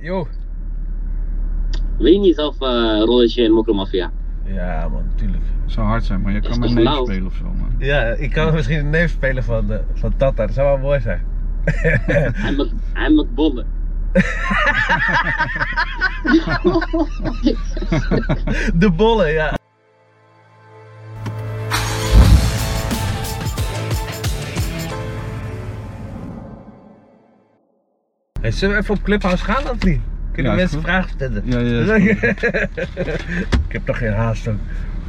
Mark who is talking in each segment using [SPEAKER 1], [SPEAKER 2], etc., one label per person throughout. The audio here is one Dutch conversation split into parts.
[SPEAKER 1] Yo.
[SPEAKER 2] Weenies of eh rolletje en mokromafia?
[SPEAKER 1] Ja, man, tuurlijk.
[SPEAKER 3] zou hard zijn, maar je
[SPEAKER 2] Is
[SPEAKER 3] kan
[SPEAKER 2] toch
[SPEAKER 3] mijn neef
[SPEAKER 2] lauw?
[SPEAKER 3] spelen of zo, man.
[SPEAKER 1] Ja, ik kan misschien een neef spelen van, eh, van Tata. Dat zou wel mooi zijn.
[SPEAKER 2] Hij moet, hij moet bollen.
[SPEAKER 1] De bollen, ja. Hey, zullen we even op Clubhouse gaan of niet? Kunnen
[SPEAKER 3] Ja, is
[SPEAKER 1] mensen
[SPEAKER 3] goed.
[SPEAKER 1] vragen stellen?
[SPEAKER 3] Ja, ja, is
[SPEAKER 1] ik heb toch geen haast ook.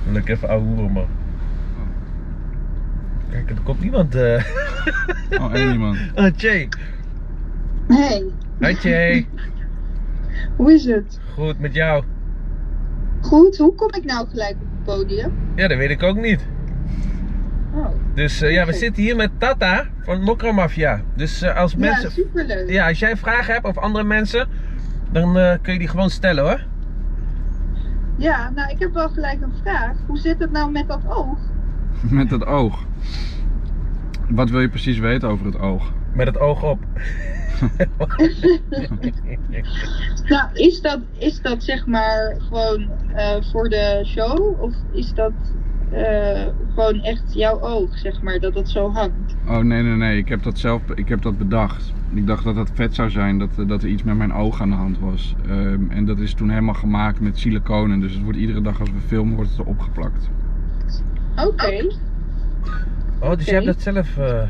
[SPEAKER 1] Wil ik even ouwehoeren,
[SPEAKER 3] Oh.
[SPEAKER 1] man. Kijk, er komt niemand. eh
[SPEAKER 3] Oh, één iemand.
[SPEAKER 1] Oh, Jay.
[SPEAKER 4] Hey,
[SPEAKER 1] Hi, Jay.
[SPEAKER 4] hoe is het?
[SPEAKER 1] Goed, met jou?
[SPEAKER 4] Goed, hoe kom ik nou gelijk op het podium?
[SPEAKER 1] Ja, dat weet ik ook niet.
[SPEAKER 4] Oh,
[SPEAKER 1] Dus eh, ja, we
[SPEAKER 4] Oké.
[SPEAKER 1] zitten hier met Tata van Mokromafia. Dus eh, als mensen...
[SPEAKER 4] ja, superleuk.
[SPEAKER 1] Ja, als jij vragen hebt of andere mensen, dan eh, kun je die gewoon stellen hoor.
[SPEAKER 4] Ja, nou ik heb wel gelijk een vraag. Hoe zit het nou met dat oog?
[SPEAKER 3] Met het oog. Wat wil je precies weten over het oog?
[SPEAKER 1] Met het oog op. Oh,
[SPEAKER 4] Nou, is dat, is dat zeg maar gewoon eh, voor de show? Of is dat eh, gewoon echt jouw oog, zeg maar, dat het zo hangt?
[SPEAKER 3] Oh nee, nee, nee, ik heb dat zelf ik heb dat bedacht. Ik dacht dat dat vet zou zijn, dat, eh, dat er iets met mijn oog aan de hand was. Ehm, en dat is toen helemaal gemaakt met siliconen. Dus het wordt iedere dag als we filmen, wordt het erop geplakt.
[SPEAKER 4] Oké.
[SPEAKER 1] oh, dus jij hebt dat zelf. eh,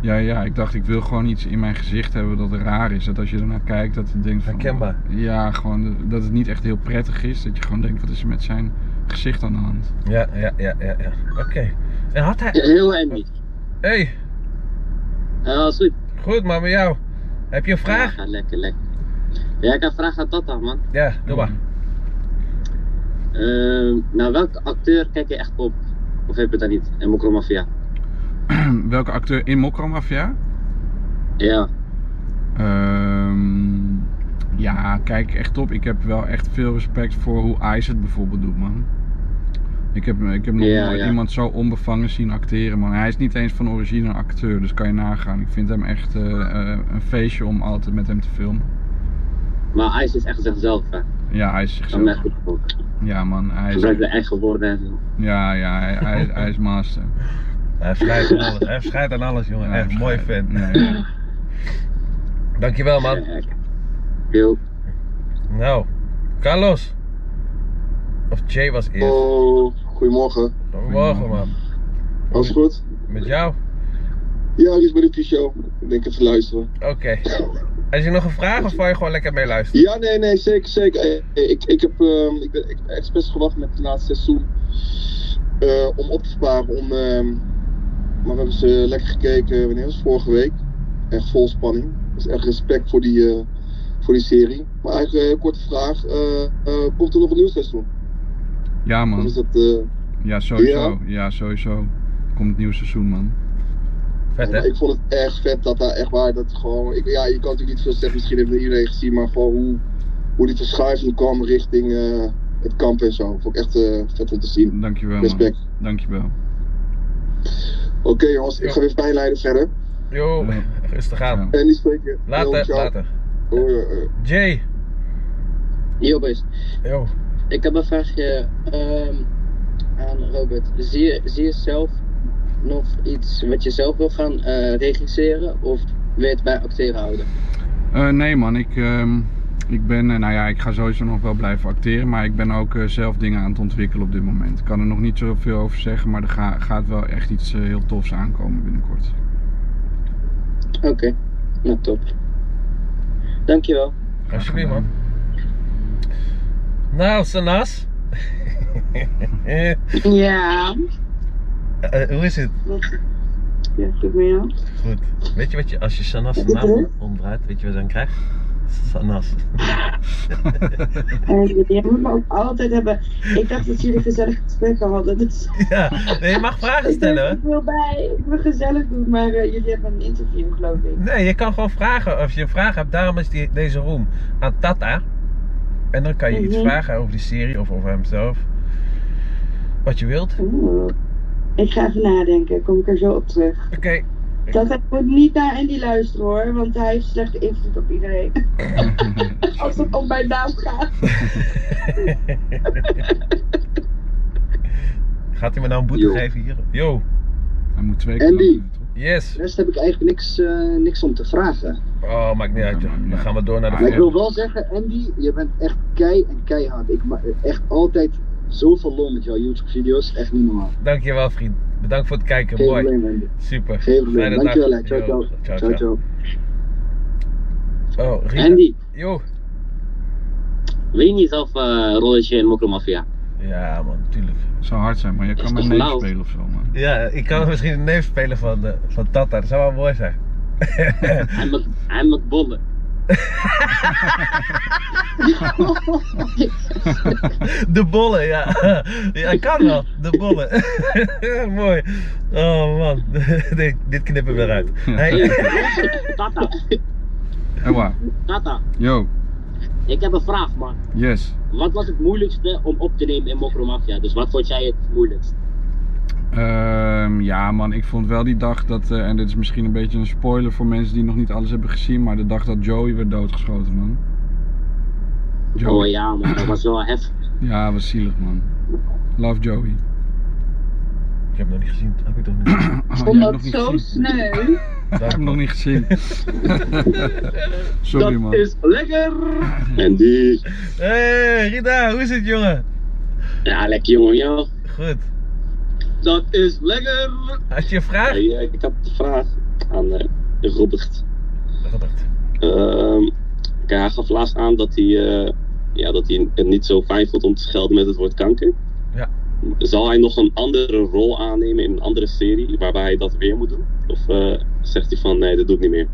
[SPEAKER 3] Ja, ja, ik dacht ik wil gewoon iets in mijn gezicht hebben dat raar is. Dat als je ernaar kijkt, dat je denkt van...
[SPEAKER 1] Herkenbaar.
[SPEAKER 3] Ja, gewoon dat- dat het niet echt heel prettig is. Dat je gewoon denkt, wat is er met zijn gezicht aan de hand?
[SPEAKER 1] Ja, ja, ja, ja. ja. Oké. En had hij.
[SPEAKER 2] Heel Andy.
[SPEAKER 1] hey,
[SPEAKER 2] Eh goed.
[SPEAKER 1] goed maar met jou. Heb je een vraag?
[SPEAKER 2] Ja, lekker, lekker. Ja, ik heb een vraag aan Tata, man.
[SPEAKER 1] Ja, doe maar.
[SPEAKER 2] Eh, naar welke acteur kijk je echt op? Of heb je dat niet? En mokromafia?
[SPEAKER 3] Welke acteur in Mokro Mafia?
[SPEAKER 2] Ja.
[SPEAKER 3] Ehm, ja, kijk echt op. Ik heb wel echt veel respect voor hoe Ice het bijvoorbeeld doet, man. Ik heb, ik heb nog
[SPEAKER 2] Ja,
[SPEAKER 3] nooit
[SPEAKER 2] ja.
[SPEAKER 3] iemand zo onbevangen zien acteren, man. Hij is niet eens van origine een acteur, dus kan je nagaan. Ik vind hem echt eh, eh, een feestje om altijd met hem te filmen.
[SPEAKER 2] Maar IJs is echt zichzelf, hè.
[SPEAKER 3] Ja, hij is
[SPEAKER 2] Kan mij
[SPEAKER 3] zichzelf.
[SPEAKER 2] goed voor.
[SPEAKER 3] Ja, man. Hij is,
[SPEAKER 2] Gebruik de eigen woorden en zo.
[SPEAKER 3] ja, ja, hij, hij, hij is master.
[SPEAKER 1] Hij schrijft aan alles. Hij schrijft aan alles, jongen.
[SPEAKER 3] Ja,
[SPEAKER 1] Echt mooi
[SPEAKER 3] hij-
[SPEAKER 1] fan.
[SPEAKER 3] Nee, ja.
[SPEAKER 1] Dankjewel, man.
[SPEAKER 2] Ja, ja. Yo.
[SPEAKER 1] Nou, Carlos. Of Jay was eerst.
[SPEAKER 5] Hallo, Oh, goedemorgen.
[SPEAKER 1] Goedemorgen, man.
[SPEAKER 5] Alles goed?
[SPEAKER 1] Met jou?
[SPEAKER 5] Ja, hier is bij de T-show. Ik denk even luisteren.
[SPEAKER 1] Oké. Had je nog een vraag of wil je gewoon lekker mee luisteren?
[SPEAKER 5] Ja, nee, nee, zeker, zeker. Eh, Ik, ik, heb, ehm, ik ben ik heb expres gewacht met het laatste seizoen eh, om op te sparen. Om, ehm, maar we hebben ze lekker gekeken, wanneer was het? Vorige week. Echt vol spanning. Dus echt respect voor die, eh, voor die serie. Maar eigenlijk, eh, korte vraag. eh, eh, komt er nog een nieuw seizoen?
[SPEAKER 3] ja,
[SPEAKER 5] Of is
[SPEAKER 3] man.
[SPEAKER 5] dat... eh,
[SPEAKER 3] Ja, sowieso. Ja, sowieso. Komt het nieuwe seizoen, man.
[SPEAKER 1] Vet,
[SPEAKER 5] Ja,
[SPEAKER 1] hè?
[SPEAKER 5] maar ik vond het echt vet dat daar echt waar dat gewoon. Ik, ja, je kan natuurlijk niet veel zeggen, misschien heeft niet iedereen gezien, maar gewoon hoe, hoe die verschuiving kwam richting eh, het kamp en zo. Vond ik echt eh, vet om te zien.
[SPEAKER 3] Dankjewel, man.
[SPEAKER 5] Respect.
[SPEAKER 3] Dankjewel.
[SPEAKER 5] Oké jongens, ik ga weer pijn lijden verder.
[SPEAKER 1] Yo,
[SPEAKER 3] Ja.
[SPEAKER 1] rustig aan.
[SPEAKER 3] Ja.
[SPEAKER 5] En die spreken. Yo,
[SPEAKER 1] Later,
[SPEAKER 5] ciao.
[SPEAKER 1] later.
[SPEAKER 5] Hoi, hoi, hoi.
[SPEAKER 1] Jay.
[SPEAKER 6] Yo boys,
[SPEAKER 1] Yo.
[SPEAKER 6] ik heb een vraagje ehm, aan Robert. Zie je, zie je zelf nog iets wat je zelf wil gaan eh, regisseren of wil je het bij acteren houden?
[SPEAKER 3] Eh, nee man, ik, ehm, ik ben, eh, nou ja, ik ga sowieso nog wel blijven acteren, maar ik ben ook eh, zelf dingen aan het ontwikkelen op dit moment. Ik kan er nog niet zoveel over zeggen, maar er ga- gaat wel echt iets eh, heel tofs aankomen binnenkort.
[SPEAKER 6] Oké, nou top. Dankjewel.
[SPEAKER 1] Alsjeblieft, man. Nou, Sanas. Eh,
[SPEAKER 4] Ja,
[SPEAKER 1] eh, hoe is het?
[SPEAKER 4] ja goed met jou.
[SPEAKER 1] Goed. Weet je wat je, als je Sanas de naam om- omdraait, weet je wat je dan krijgt? Sanas.
[SPEAKER 4] Eh, jij moet me ook altijd hebben. Ik dacht dat jullie gezellig gesprekken hadden. Dus...
[SPEAKER 1] Ja, nee, je mag vragen
[SPEAKER 4] Ik,
[SPEAKER 1] stellen.
[SPEAKER 4] denk,
[SPEAKER 1] hoor.
[SPEAKER 4] ik wil bij, ik wil gezellig doen, maar eh, jullie hebben een interview, geloof ik.
[SPEAKER 1] Nee, je kan gewoon vragen. Als je een vraag hebt, daarom is die, deze room aan Tata. En dan kan je iets
[SPEAKER 4] Mhm.
[SPEAKER 1] vragen over die serie of over hemzelf. Wat je wilt. Oké.
[SPEAKER 4] Oeh. Ik ga even nadenken, kom ik er zo op terug. Dat hij moet niet naar Andy luisteren hoor, want hij heeft slechte invloed op iedereen. mijn naam gaat.
[SPEAKER 1] Gaat hij me nou een boete
[SPEAKER 2] Yo.
[SPEAKER 1] geven hier? Yo,
[SPEAKER 3] Hij moet twee
[SPEAKER 2] Andy.
[SPEAKER 3] lang doen, toch?
[SPEAKER 1] yes.
[SPEAKER 2] De rest heb ik eigenlijk niks, eh, niks om te vragen.
[SPEAKER 1] Oh, maakt niet
[SPEAKER 3] Ja,
[SPEAKER 1] uit. joh.
[SPEAKER 3] maakt niet
[SPEAKER 1] Dan
[SPEAKER 3] uit.
[SPEAKER 1] gaan we door naar de
[SPEAKER 3] Ah,
[SPEAKER 2] Maar ik
[SPEAKER 1] volgende.
[SPEAKER 2] wil wel zeggen, Andy, je bent echt kei en keihard. Ik maak echt altijd zoveel lol met jouw YouTube-video's. Echt niet normaal.
[SPEAKER 1] Dankjewel, vriend. Bedankt voor het kijken.
[SPEAKER 2] Geen
[SPEAKER 1] Mooi.
[SPEAKER 2] probleem, Andy.
[SPEAKER 1] Super.
[SPEAKER 2] Geen probleem.
[SPEAKER 1] Fijne dag.
[SPEAKER 2] Dankjewel, hè. Ciao,
[SPEAKER 1] Yo.
[SPEAKER 2] ciao.
[SPEAKER 1] Ciao,
[SPEAKER 2] Ciao, ciao.
[SPEAKER 1] ciao. Oh, Rita.
[SPEAKER 2] Andy,
[SPEAKER 1] Yo.
[SPEAKER 2] wil je niet zelf eh, een rolletje in Mokromafia?
[SPEAKER 1] Ja, man, tuurlijk.
[SPEAKER 3] zou hard zijn, maar je
[SPEAKER 2] Is
[SPEAKER 3] kan
[SPEAKER 2] toch
[SPEAKER 3] met neef
[SPEAKER 2] lauw?
[SPEAKER 3] spelen of zo, man.
[SPEAKER 1] Ja, ik kan misschien een neef spelen van, eh, van Tata. Dat zou wel mooi zijn.
[SPEAKER 2] Hij moet bollen.
[SPEAKER 1] De bollen, ja. Ja, kan wel. De bollen. Mooi. Oh man, dit, dit knippen we eruit. Hey.
[SPEAKER 2] Tata,
[SPEAKER 3] Ewa,
[SPEAKER 2] Tata,
[SPEAKER 3] yo,
[SPEAKER 2] ik heb een vraag, man.
[SPEAKER 3] yes.
[SPEAKER 2] Wat was het moeilijkste om op te nemen in Mokromafia? Dus wat vond jij het moeilijkst?
[SPEAKER 3] Ehm, ja, man, ik vond wel die dag dat, eh, en dit is misschien een beetje een spoiler voor mensen die nog niet alles hebben gezien, maar de dag dat Joey werd doodgeschoten, man.
[SPEAKER 2] Oh ja, man, dat was wel hef.
[SPEAKER 3] Ja, was zielig, man. Love Joey.
[SPEAKER 1] Ik heb hem nog niet gezien. Heb ik toch niet?
[SPEAKER 3] Oh,
[SPEAKER 4] Ik
[SPEAKER 3] jij hebt
[SPEAKER 4] vond dat
[SPEAKER 3] nog niet
[SPEAKER 4] zo
[SPEAKER 3] gezien.
[SPEAKER 4] sneu.
[SPEAKER 3] Ik heb hem nog niet gezien. Sorry, man.
[SPEAKER 2] lekker!
[SPEAKER 5] Andy.
[SPEAKER 1] Hey, Rita, hoe is het jongen?
[SPEAKER 2] Ja, lekker jongen, joh.
[SPEAKER 1] Goed.
[SPEAKER 2] Dat is lekker!
[SPEAKER 1] Had je een vraag?
[SPEAKER 5] eh, ik had de vraag aan eh, Robert.
[SPEAKER 1] Robert.
[SPEAKER 5] Ehm, hij gaf laatst aan dat hij, eh, ja, dat hij het niet zo fijn vond om te schelden met het woord kanker.
[SPEAKER 1] Ja.
[SPEAKER 5] Zal hij nog een andere rol aannemen in een andere serie waarbij hij dat weer moet doen? Of eh, zegt hij van nee, dat doe ik niet meer?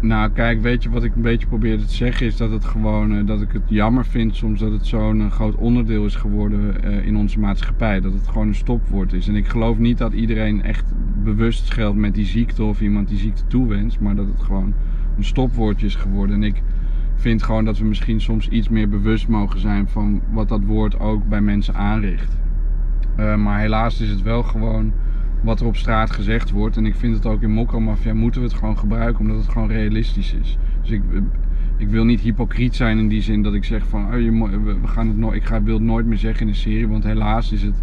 [SPEAKER 3] Nou, kijk, weet je wat ik een beetje probeerde te zeggen? Is dat het gewoon eh, dat ik het jammer vind soms dat het zo'n eh, groot onderdeel is geworden eh, in onze maatschappij. Dat het gewoon een stopwoord is. En ik geloof niet dat iedereen echt bewust geldt met die ziekte of iemand die ziekte toewenst. Maar dat het gewoon een stopwoordje is geworden. En ik vind gewoon dat we misschien soms iets meer bewust mogen zijn van wat dat woord ook bij mensen aanricht. Eh, maar helaas is het wel gewoon wat er op straat gezegd wordt. En ik vind het ook in Mokromafia moeten we het gewoon gebruiken omdat het gewoon realistisch is. Dus ik, ik wil niet hypocriet zijn in die zin dat ik zeg van oh, je, mo- we we gaan het nooit, ik ga, wil het nooit meer zeggen in een serie. Want helaas is het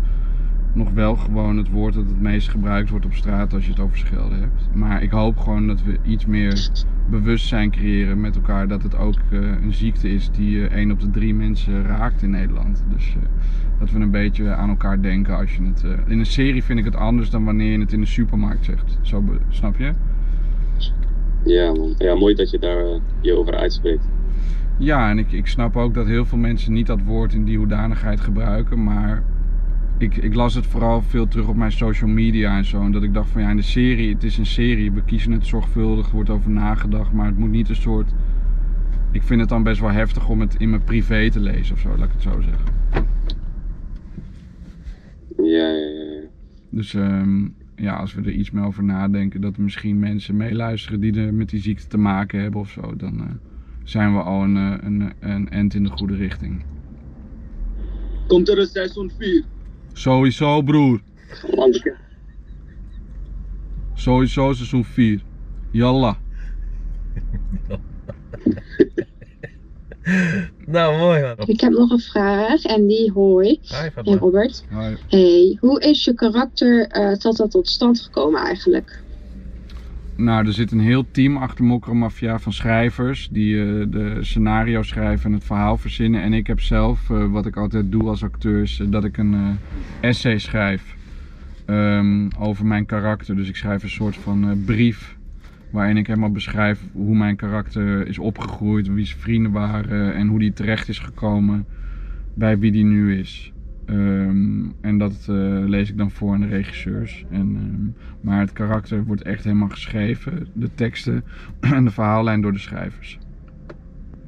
[SPEAKER 3] nog wel gewoon het woord dat het meest gebruikt wordt op straat als je het over schelden hebt. Maar ik hoop gewoon dat we iets meer bewustzijn creëren met elkaar dat het ook eh, een ziekte is die eh 1 op de drie mensen raakt in Nederland. Dus eh, dat we een beetje aan elkaar denken als je het. eh, in een serie vind ik het anders dan wanneer je het in de supermarkt zegt. Zo be- snap je?
[SPEAKER 5] Ja, man. ja mooi dat je daar eh, je over uitspreekt.
[SPEAKER 3] Ja, en ik, ik snap ook dat heel veel mensen niet dat woord in die hoedanigheid gebruiken, maar ik, ik las het vooral veel terug op mijn social media en zo. En dat ik dacht van ja, in de serie, het is een serie, we kiezen het zorgvuldig, er wordt over nagedacht, maar het moet niet een soort. Ik vind het dan best wel heftig om het in mijn privé te lezen of zo, laat ik het zo zeggen.
[SPEAKER 5] Ja, ja, ja. ja.
[SPEAKER 3] Dus ehm, ja, als we er iets meer over nadenken, dat er misschien mensen meeluisteren die er met die ziekte te maken hebben of zo, dan eh, zijn we al een, eh, een, een end in de goede richting.
[SPEAKER 2] Komt er een seizoen 4?
[SPEAKER 3] Sowieso, broer.
[SPEAKER 5] Want ik-
[SPEAKER 3] Sowieso seizoen 4. Jalla.
[SPEAKER 1] Nou, mooi man.
[SPEAKER 7] Ik heb nog een vraag en die hoor ik.
[SPEAKER 1] Hi,
[SPEAKER 7] Hey
[SPEAKER 1] Fatma.
[SPEAKER 7] Robert. Hey, hoe is je karakter eh tot dat tot stand gekomen eigenlijk?
[SPEAKER 3] Nou, er zit een heel team achter Mokro Mafia van schrijvers die eh, de scenario schrijven en het verhaal verzinnen. En ik heb zelf, eh, wat ik altijd doe als acteur, is eh, dat ik een eh, essay schrijf ehm, over mijn karakter. Dus ik schrijf een soort van eh, brief waarin ik helemaal beschrijf hoe mijn karakter is opgegroeid, wie zijn vrienden waren en hoe die terecht is gekomen bij wie die nu is. Ehm, en dat eh, lees ik dan voor aan de regisseurs. En, ehm, maar het karakter wordt echt helemaal geschreven. De teksten en de verhaallijn door de schrijvers.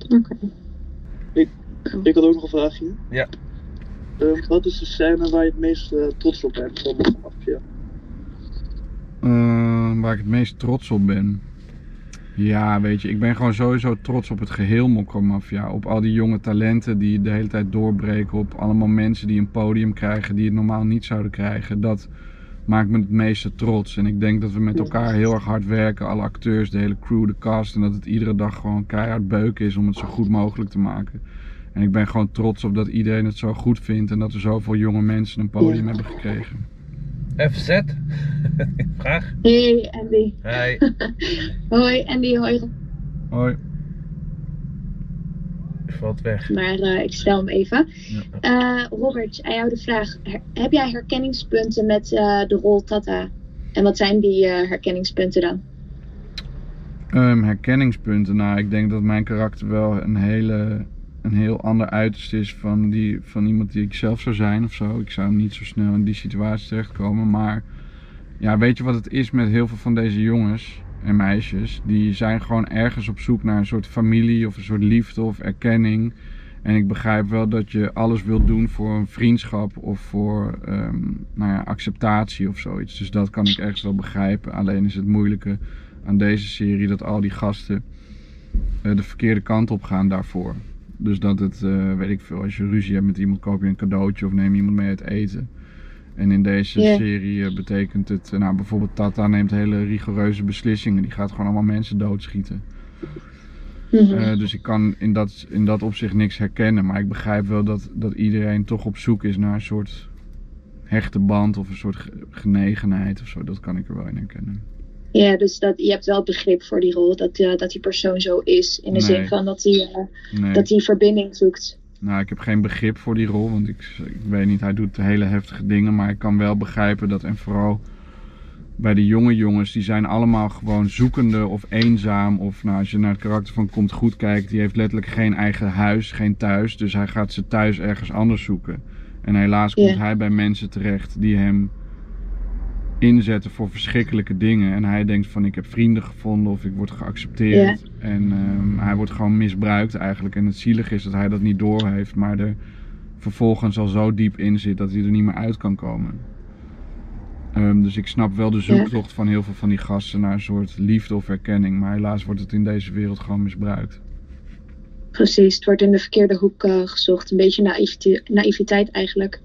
[SPEAKER 7] Oké.
[SPEAKER 8] Ik had ook nog een vraagje.
[SPEAKER 1] Ja.
[SPEAKER 8] Ehm, wat is de scène waar je het meest eh, trots op bent van de mafia?
[SPEAKER 3] Ehm, waar ik het meest trots op ben. Ja, weet je, ik ben gewoon sowieso trots op het geheel Mokko Mafia. Op al die jonge talenten die de hele tijd doorbreken. Op allemaal mensen die een podium krijgen die het normaal niet zouden krijgen. Dat maakt me het meeste trots. En ik denk dat we met elkaar heel erg hard werken, alle acteurs, de hele crew, de cast. En dat het iedere dag gewoon keihard beuken is om het zo goed mogelijk te maken. En ik ben gewoon trots op dat iedereen het zo goed vindt en dat er zoveel jonge mensen een podium hebben gekregen.
[SPEAKER 1] FZ? Vraag?
[SPEAKER 7] Hey Andy.
[SPEAKER 1] Hi.
[SPEAKER 7] Hoi Andy, hoi.
[SPEAKER 3] Hoi.
[SPEAKER 1] Valt weg.
[SPEAKER 7] Maar eh, ik stel hem even.
[SPEAKER 1] Ja.
[SPEAKER 7] Eh, Robert, aan jou de vraag. Her- heb jij herkenningspunten met eh, de rol Tata? En wat zijn die eh, herkenningspunten dan?
[SPEAKER 3] Ehm, herkenningspunten. Nou, ik denk dat mijn karakter wel een, hele, een heel ander uiterste is van, die, van iemand die ik zelf zou zijn of zo. Ik zou niet zo snel in die situatie terechtkomen. Maar ja, weet je wat het is met heel veel van deze jongens en meisjes? Die zijn gewoon ergens op zoek naar een soort familie of een soort liefde of erkenning. En ik begrijp wel dat je alles wilt doen voor een vriendschap of voor ehm, nou ja, acceptatie of zoiets. Dus dat kan ik ergens wel begrijpen. Alleen is het moeilijke aan deze serie dat al die gasten eh, de verkeerde kant op gaan daarvoor. Dus dat het, eh, weet ik veel, als je ruzie hebt met iemand, koop je een cadeautje of neem iemand mee uit eten. En in deze
[SPEAKER 7] Ja.
[SPEAKER 3] serie eh, betekent het, eh, nou bijvoorbeeld Tata neemt hele rigoureuze beslissingen. Die gaat gewoon allemaal mensen doodschieten.
[SPEAKER 7] Mhm.
[SPEAKER 3] Eh, dus ik kan in dat, in dat opzicht niks herkennen. Maar ik begrijp wel dat, dat iedereen toch op zoek is naar een soort hechte band of een soort ge- genegenheid of zo. Dat kan ik er wel in herkennen.
[SPEAKER 7] Ja, dus dat, je hebt wel begrip voor die rol. Dat, eh, dat die persoon zo is. In de
[SPEAKER 3] Nee.
[SPEAKER 7] zin van dat hij eh,
[SPEAKER 3] Nee.
[SPEAKER 7] dat hij verbinding zoekt.
[SPEAKER 3] Nou, ik heb geen begrip voor die rol, want ik, ik weet niet, hij doet hele heftige dingen, maar ik kan wel begrijpen dat en vooral bij de jonge jongens, die zijn allemaal gewoon zoekende of eenzaam of nou, als je naar het karakter van Komt Goed kijkt, die heeft letterlijk geen eigen huis, geen thuis, dus hij gaat ze thuis ergens anders zoeken. En helaas komt
[SPEAKER 7] Ja.
[SPEAKER 3] hij bij mensen terecht die hem inzetten voor verschrikkelijke dingen. En hij denkt van ik heb vrienden gevonden of ik word geaccepteerd. En ehm, hij wordt gewoon misbruikt eigenlijk. En het zielige is dat hij dat niet door heeft, maar er vervolgens al zo diep in zit dat hij er niet meer uit kan komen. Ehm, dus ik snap wel de zoektocht van heel veel van die gasten naar een soort liefde of erkenning. Maar helaas wordt het in deze wereld gewoon misbruikt.
[SPEAKER 7] Precies, het wordt in de verkeerde hoek eh, gezocht. Een beetje naïvite- naïviteit eigenlijk.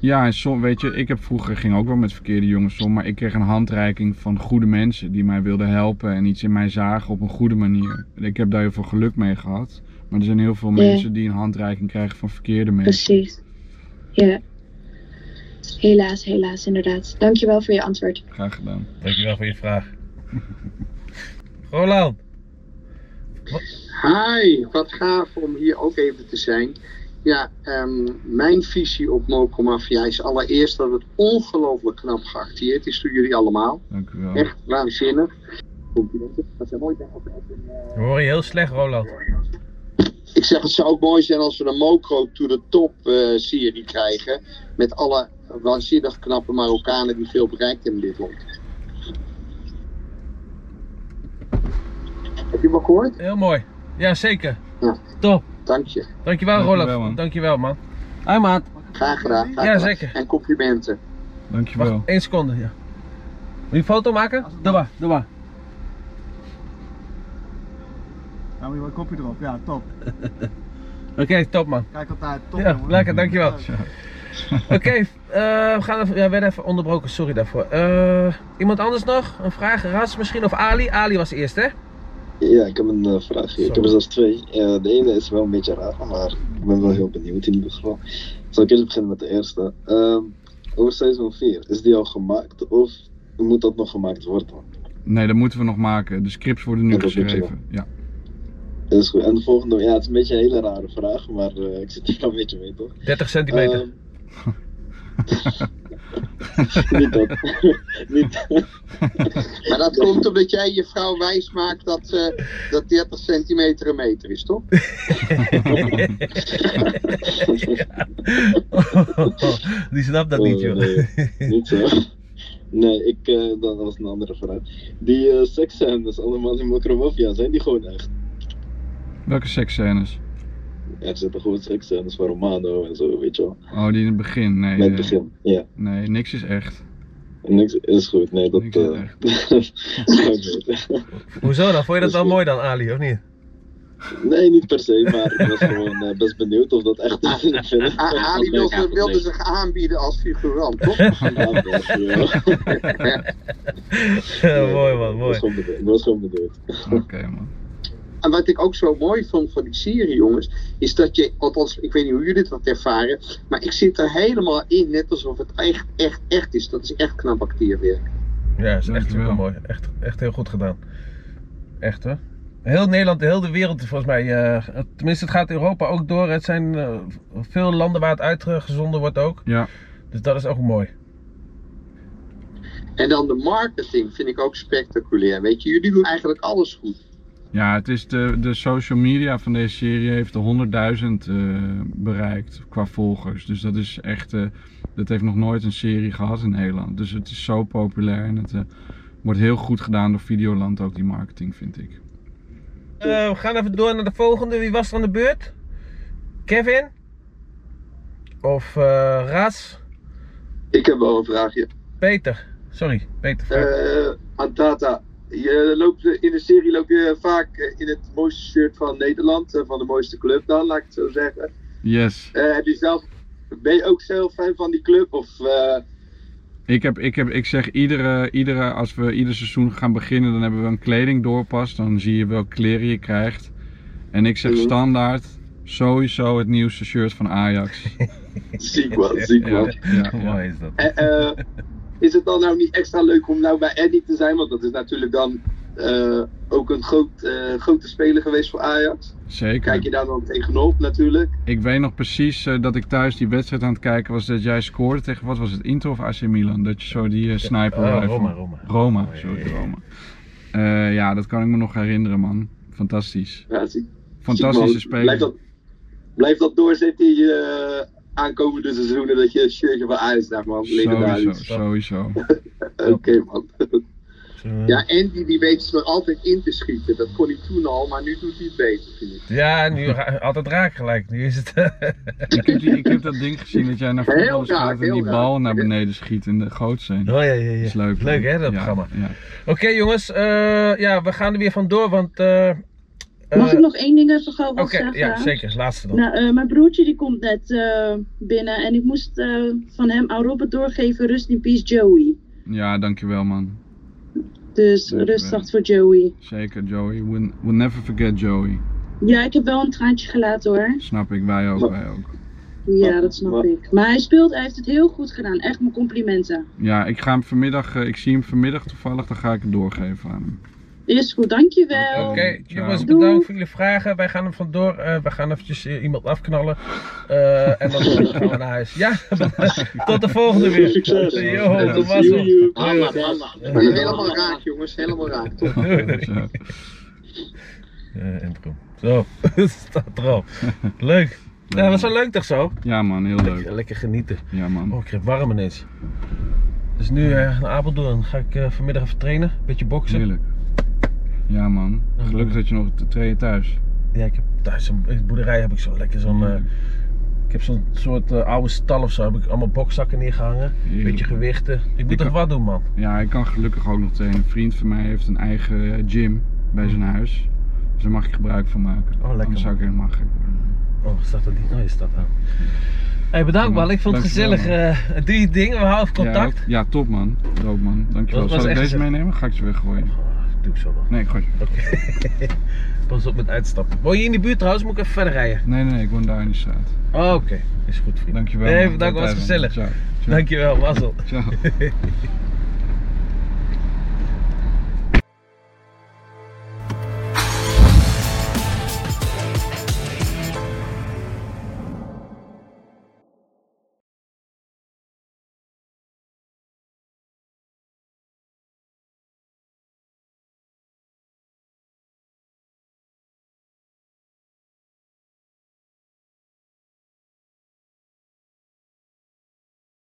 [SPEAKER 3] Ja, en som, weet je, ik heb vroeger ging ook wel met verkeerde jongens om, maar ik kreeg een handreiking van goede mensen die mij wilden helpen en iets in mij zagen op een goede manier. Ik heb daar heel veel geluk mee gehad, maar er zijn heel veel
[SPEAKER 7] Ja.
[SPEAKER 3] mensen die een handreiking krijgen van verkeerde mensen.
[SPEAKER 7] Precies. Ja. Helaas, helaas, inderdaad. Dankjewel voor je antwoord.
[SPEAKER 3] Graag gedaan.
[SPEAKER 1] Dankjewel voor je vraag. Roland.
[SPEAKER 2] Hi, wat gaaf om hier ook even te zijn. Ja, ehm, mijn visie op Moco Mafia is allereerst dat het ongelooflijk knap geacteerd is door jullie allemaal.
[SPEAKER 3] Dank u wel.
[SPEAKER 2] Echt waanzinnig. Complimenten. Dat zijn mooi. Ik ben ook echt een, eh,
[SPEAKER 1] We horen je heel slecht, Roland.
[SPEAKER 5] Ik zeg, het zou ook mooi zijn als we een Mocro to the Top eh, serie krijgen. Met alle waanzinnig knappe Marokkanen die veel bereikt hebben in dit land.
[SPEAKER 2] Heb je me gehoord?
[SPEAKER 1] Heel mooi. Ja, zeker.
[SPEAKER 5] Ja.
[SPEAKER 1] Top.
[SPEAKER 5] Dank je.
[SPEAKER 1] Dankjewel,
[SPEAKER 3] Dankjewel,
[SPEAKER 1] Roland.
[SPEAKER 3] man.
[SPEAKER 1] Dankjewel, man.
[SPEAKER 6] Hi maat.
[SPEAKER 5] Graag gedaan.
[SPEAKER 9] Nou,
[SPEAKER 5] Graag
[SPEAKER 1] Ja,
[SPEAKER 5] gedaan.
[SPEAKER 1] zeker.
[SPEAKER 5] En complimenten.
[SPEAKER 3] Dankjewel.
[SPEAKER 1] Wacht, één seconde. Ja. Wil je een foto maken? Doe maar.
[SPEAKER 6] Doe maar.
[SPEAKER 9] Nou, moet je wel een kopje erop. Ja, top.
[SPEAKER 1] Oké, top, man.
[SPEAKER 9] Kijk altijd, top
[SPEAKER 1] Ja,
[SPEAKER 9] jongen.
[SPEAKER 1] lekker, dankjewel.
[SPEAKER 9] Ja.
[SPEAKER 1] Oké, eh, we gaan even, ja, we werden even onderbroken, sorry daarvoor. Eh, iemand anders nog? Een vraag? Ras misschien of Ali? Ali was eerst, hè?
[SPEAKER 10] Ja, ik heb een eh, vraag hier. Ik heb
[SPEAKER 1] Zo.
[SPEAKER 10] er zelfs twee. Eh, de ene is wel een beetje raar, maar ik ben wel heel benieuwd in ieder geval. Zal ik eerst beginnen met de eerste? Ehm over seizoen 4, is die al gemaakt of moet dat nog gemaakt worden?
[SPEAKER 3] Nee, dat moeten we nog maken. De scripts worden nu
[SPEAKER 10] Ja, dat moet je
[SPEAKER 3] geschreven. Ja.
[SPEAKER 10] Dat is goed. En de volgende, ja, het is een beetje een hele rare vraag, maar eh, ik zit hier al een beetje mee toch?
[SPEAKER 1] 30 centimeter.
[SPEAKER 10] Ehm, niet dat. niet dat.
[SPEAKER 5] Maar dat komt omdat jij je vrouw wijs maakt dat, eh, dat 30 centimeter een meter is, toch?
[SPEAKER 10] Eh.
[SPEAKER 1] Die snapt dat niet,
[SPEAKER 10] Oh,
[SPEAKER 1] joh.
[SPEAKER 10] nee. Niet zo. Nee, ik, eh, dat was een andere vraag. Die eh, seksscènes allemaal in Mokromafia, zijn die gewoon echt?
[SPEAKER 3] Welke seksscènes?
[SPEAKER 10] Ja, er zitten gewoon seksscènes van Romano en zo, weet je wel.
[SPEAKER 3] Oh, die in het begin. Nee,
[SPEAKER 10] Met het
[SPEAKER 3] eh,
[SPEAKER 10] begin, ja.
[SPEAKER 3] nee niks is echt.
[SPEAKER 10] Niks is goed, nee, dat...
[SPEAKER 3] Niks is
[SPEAKER 10] eh,
[SPEAKER 3] echt.
[SPEAKER 10] dat kan ik niet.
[SPEAKER 1] Hoezo dan? Vond je dat wel mooi dan, Ali, of niet?
[SPEAKER 10] Nee, niet per se, maar ik was gewoon eh, best benieuwd of dat echt een film was.
[SPEAKER 2] Ah, Ali wilde, wilde zich aanbieden als figurant, toch?
[SPEAKER 10] Ja, dat, ja.
[SPEAKER 1] mooi man,
[SPEAKER 10] Ik was
[SPEAKER 1] mooi.
[SPEAKER 10] gewoon benieuwd. Ik was gewoon benieuwd.
[SPEAKER 3] Oké man.
[SPEAKER 2] En wat ik ook zo mooi vond van die serie, jongens, is dat je, althans, ik weet niet hoe jullie dat ervaren, maar ik zit er helemaal in, net alsof het echt, echt, echt is. Dat is echt knap acteerwerk.
[SPEAKER 1] Ja, is echt
[SPEAKER 3] Dankjewel.
[SPEAKER 1] super mooi. Echt, echt heel goed gedaan. Echt hoor. Heel Nederland, heel de wereld volgens mij. eh, tenminste, het gaat Europa ook door. Het zijn eh, veel landen waar het uitgezonden wordt ook.
[SPEAKER 3] Ja.
[SPEAKER 1] Dus dat is ook mooi.
[SPEAKER 2] En dan de marketing vind ik ook spectaculair. Weet je, jullie doen eigenlijk alles goed.
[SPEAKER 3] Ja, het is de, de social media van deze serie heeft de 100.000 eh, bereikt qua volgers. Dus dat is echt, eh, dat heeft nog nooit een serie gehad in Nederland. Dus het is zo populair en het eh, wordt heel goed gedaan door Videoland ook, die marketing vind ik.
[SPEAKER 1] Eh, we gaan even door naar de volgende. Wie was er aan de beurt? Kevin? Of eh Ras?
[SPEAKER 5] Ik heb wel een vraagje.
[SPEAKER 1] Peter. Sorry, Peter. vraag.
[SPEAKER 5] Eh Antata, je loopt eh, in de serie loop je vaak eh, in het mooiste shirt van Nederland, eh, van de mooiste club dan, laat ik het zo zeggen.
[SPEAKER 3] Yes.
[SPEAKER 5] Eh, heb je zelf, ben je ook zelf fan van die club? Of eh,
[SPEAKER 3] Ik, heb, ik, heb, ik zeg iedere, iedere, als we ieder seizoen gaan beginnen, dan hebben we een kledingdoorpas. Dan zie je welke kleren je krijgt. En ik zeg
[SPEAKER 5] Mhm.
[SPEAKER 3] standaard sowieso het nieuwste shirt van Ajax.
[SPEAKER 5] ziek man, ziek man.
[SPEAKER 3] Ja, ja,
[SPEAKER 1] Hoe
[SPEAKER 3] ja.
[SPEAKER 1] mooi is dat?
[SPEAKER 5] Eh, eh, is het dan nou niet extra leuk om nou bij Eddie te zijn? Want dat is natuurlijk dan eh, ook een groot, eh, grote speler geweest voor Ajax. Kijk
[SPEAKER 3] Zeker.
[SPEAKER 5] je daar dan tegenop natuurlijk.
[SPEAKER 3] Ik weet nog precies eh, dat ik thuis die wedstrijd aan het kijken was dat jij scoorde tegen, wat was het, Inter of AC Milan? Dat je zo die eh, sniper...
[SPEAKER 1] Oh,
[SPEAKER 3] rifle-
[SPEAKER 1] Roma, Roma.
[SPEAKER 3] Roma,
[SPEAKER 1] Oh, ja,
[SPEAKER 3] sorry,
[SPEAKER 1] ja, ja.
[SPEAKER 3] Roma. Eh, ja, dat kan ik me nog herinneren, man. Fantastisch.
[SPEAKER 5] Ja, ziek, ziek,
[SPEAKER 3] Fantastische
[SPEAKER 5] man.
[SPEAKER 3] speler.
[SPEAKER 5] Blijf dat, blijf dat doorzetten in je eh, aankomende seizoenen dat je een shirtje van Ajax draagt man.
[SPEAKER 3] Sowieso,
[SPEAKER 5] Legendarisch.
[SPEAKER 3] sowieso.
[SPEAKER 5] Oké man.
[SPEAKER 1] Zullen we-
[SPEAKER 2] Ja, Andy die weet ze er altijd in te schieten. Dat kon hij toen al, maar nu doet hij het beter, vind ik.
[SPEAKER 1] Ja, nu ra- altijd raak gelijk. Nu is het.
[SPEAKER 3] Ik heb, die- ik heb dat ding gezien dat jij naar
[SPEAKER 2] Heel
[SPEAKER 3] voetballers
[SPEAKER 2] raar,
[SPEAKER 3] gaat en
[SPEAKER 2] heel
[SPEAKER 3] die
[SPEAKER 2] raar.
[SPEAKER 3] bal naar beneden schiet en de goot zijn.
[SPEAKER 1] Oh ja, ja, ja.
[SPEAKER 3] Dat is leuk.
[SPEAKER 1] Leuk
[SPEAKER 3] man.
[SPEAKER 1] hè, dat
[SPEAKER 3] Ja,
[SPEAKER 1] programma.
[SPEAKER 3] Ja.
[SPEAKER 1] Oké jongens, eh, ja, we gaan er weer vandoor, want... eh, eh,
[SPEAKER 4] Mag ik nog één ding even gauw
[SPEAKER 1] Oké,
[SPEAKER 4] wat zeggen?
[SPEAKER 1] ja, zeker. Laatste dan.
[SPEAKER 4] Nou, eh, mijn broertje die komt net eh, binnen en ik moest eh, van hem aan Robert doorgeven, rust in peace Joey.
[SPEAKER 3] ja, dankjewel man.
[SPEAKER 4] Dus
[SPEAKER 3] Leuk,
[SPEAKER 4] rust
[SPEAKER 3] hè?
[SPEAKER 4] zacht voor Joey.
[SPEAKER 3] Zeker Joey. We'll, we'll never forget Joey.
[SPEAKER 4] Ja, ik heb wel een traantje gelaten hoor.
[SPEAKER 3] Snap ik, wij ook, wij ook.
[SPEAKER 4] Ja, dat snap
[SPEAKER 5] Maar-
[SPEAKER 4] ik. Maar hij speelt, hij heeft het heel goed gedaan. Echt mijn complimenten.
[SPEAKER 3] Ja, ik ga hem vanmiddag, eh, ik zie hem vanmiddag toevallig, dan ga ik het doorgeven aan hem.
[SPEAKER 4] Is goed, dankjewel.
[SPEAKER 1] Oké, jongens,
[SPEAKER 4] Nou. Doei.
[SPEAKER 1] bedankt voor jullie vragen. Wij gaan er vandoor. eh we gaan eventjes eh, iemand afknallen. Eh, en dan gaan we naar huis. Ja, tot de volgende weer.
[SPEAKER 5] Succes.
[SPEAKER 1] Yo, dat was
[SPEAKER 5] See
[SPEAKER 1] hem.
[SPEAKER 5] you.
[SPEAKER 2] Mama, mama. Helemaal raak, jongens. Helemaal raak. Toch?
[SPEAKER 1] Doei, doei.
[SPEAKER 3] Zo.
[SPEAKER 1] Eh, impro. Zo, het staat erop. Leuk. Ja, was wel leuk toch zo?
[SPEAKER 3] Ja man, heel leuk.
[SPEAKER 1] Lekker, lekker genieten.
[SPEAKER 3] Ja man.
[SPEAKER 1] Oh, ik kreeg warm ineens. Dus nu eh, naar Apeldoorn. Ga ik eh, vanmiddag even trainen. Een beetje boksen.
[SPEAKER 3] Heerlijk. Ja man. Gelukkig dat je nog te trainen thuis.
[SPEAKER 1] Ja, ik heb thuis een in de boerderij heb ik zo lekker zo'n. eh, ik heb zo'n soort eh, oude stal of zo. Heb ik allemaal bokzakken neergehangen. Een beetje gewichten. Ik moet
[SPEAKER 3] Ik
[SPEAKER 1] toch
[SPEAKER 3] ook.
[SPEAKER 1] wat doen, man.
[SPEAKER 3] Ja, ik kan gelukkig ook nog trainen. Een vriend van mij heeft een eigen eh, gym bij zijn huis. Dus daar mag ik gebruik van maken.
[SPEAKER 1] Oh, lekker,
[SPEAKER 3] Anders zou ik
[SPEAKER 1] man.
[SPEAKER 3] helemaal gek worden.
[SPEAKER 1] Oh, staat dat niet? Oh, je staat aan. Hey, bedankt,
[SPEAKER 3] Ja, man.
[SPEAKER 1] man. Ik vond het
[SPEAKER 3] Dankjewel,
[SPEAKER 1] gezellig. eh doe je ding, we houden contact.
[SPEAKER 3] Ja, ja, top man. Doop man. Dankjewel.
[SPEAKER 1] Dat was
[SPEAKER 3] Zal ik
[SPEAKER 1] echt
[SPEAKER 3] deze
[SPEAKER 1] gezellig.
[SPEAKER 3] meenemen? Ga ik ze weggooien?
[SPEAKER 1] Oh, doe ik zo wel.
[SPEAKER 3] Nee, ik gooi ze weg.
[SPEAKER 1] Oké. Pas op met uitstappen. Woon je in de buurt trouwens? Moet ik even verder rijden?
[SPEAKER 3] Nee, nee, nee, ik woon daar in de straat.
[SPEAKER 1] Oh, Oké, is goed, vriend.
[SPEAKER 3] Dankjewel.
[SPEAKER 1] Nee,
[SPEAKER 3] man.
[SPEAKER 1] bedankt,
[SPEAKER 3] Tot
[SPEAKER 1] was
[SPEAKER 3] daar dan.
[SPEAKER 1] gezellig.
[SPEAKER 3] Ciao. Ciao.
[SPEAKER 1] Dankjewel, Wassel.
[SPEAKER 3] Ciao.